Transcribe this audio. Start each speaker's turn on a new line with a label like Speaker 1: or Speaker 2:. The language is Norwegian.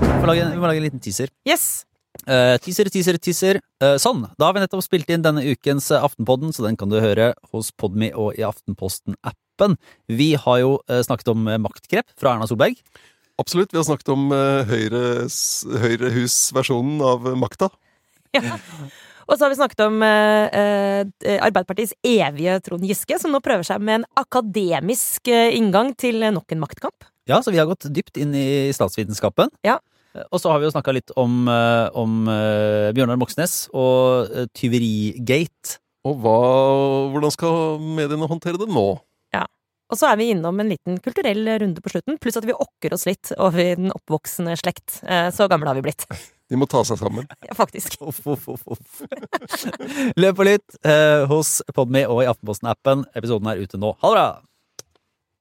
Speaker 1: må lage en liten teaser.
Speaker 2: Yes!
Speaker 1: Eh, teaser, teaser, teaser. Eh, sånn, da har vi nettopp spilt inn denne ukens eh, Aftenpodden, så den kan du høre hos Podme og i Aftenposten-appen. Vi har jo eh, snakket om eh, maktgrep fra Erna Solberg.
Speaker 3: Absolutt. Vi har snakket om eh, Høyres, Høyrehus-versjonen av eh, makta.
Speaker 2: Og så har vi snakket om eh, eh, Arbeiderpartiets evige Trond Giske, som nå prøver seg med en akademisk eh, inngang til eh, nok en maktkamp.
Speaker 1: Ja, så vi har gått dypt inn i statsvitenskapen.
Speaker 2: Ja.
Speaker 1: Eh, Og så har vi jo snakka litt om, eh, om eh, Bjørnar Moxnes og eh, tyverigate.
Speaker 3: Og hva, hvordan skal mediene håndtere det nå?
Speaker 2: Og så er vi innom en liten kulturell runde på slutten, pluss at vi okker oss litt over den oppvoksende slekt. Eh, Så gamle har vi blitt,
Speaker 3: De må ta seg sammen.
Speaker 2: Ja, faktisk.
Speaker 1: Uff, uff, uff, uff. Løp og lytt eh, hos Podme og i Aftenposten-appen. Episoden er ute nå. Ha det bra!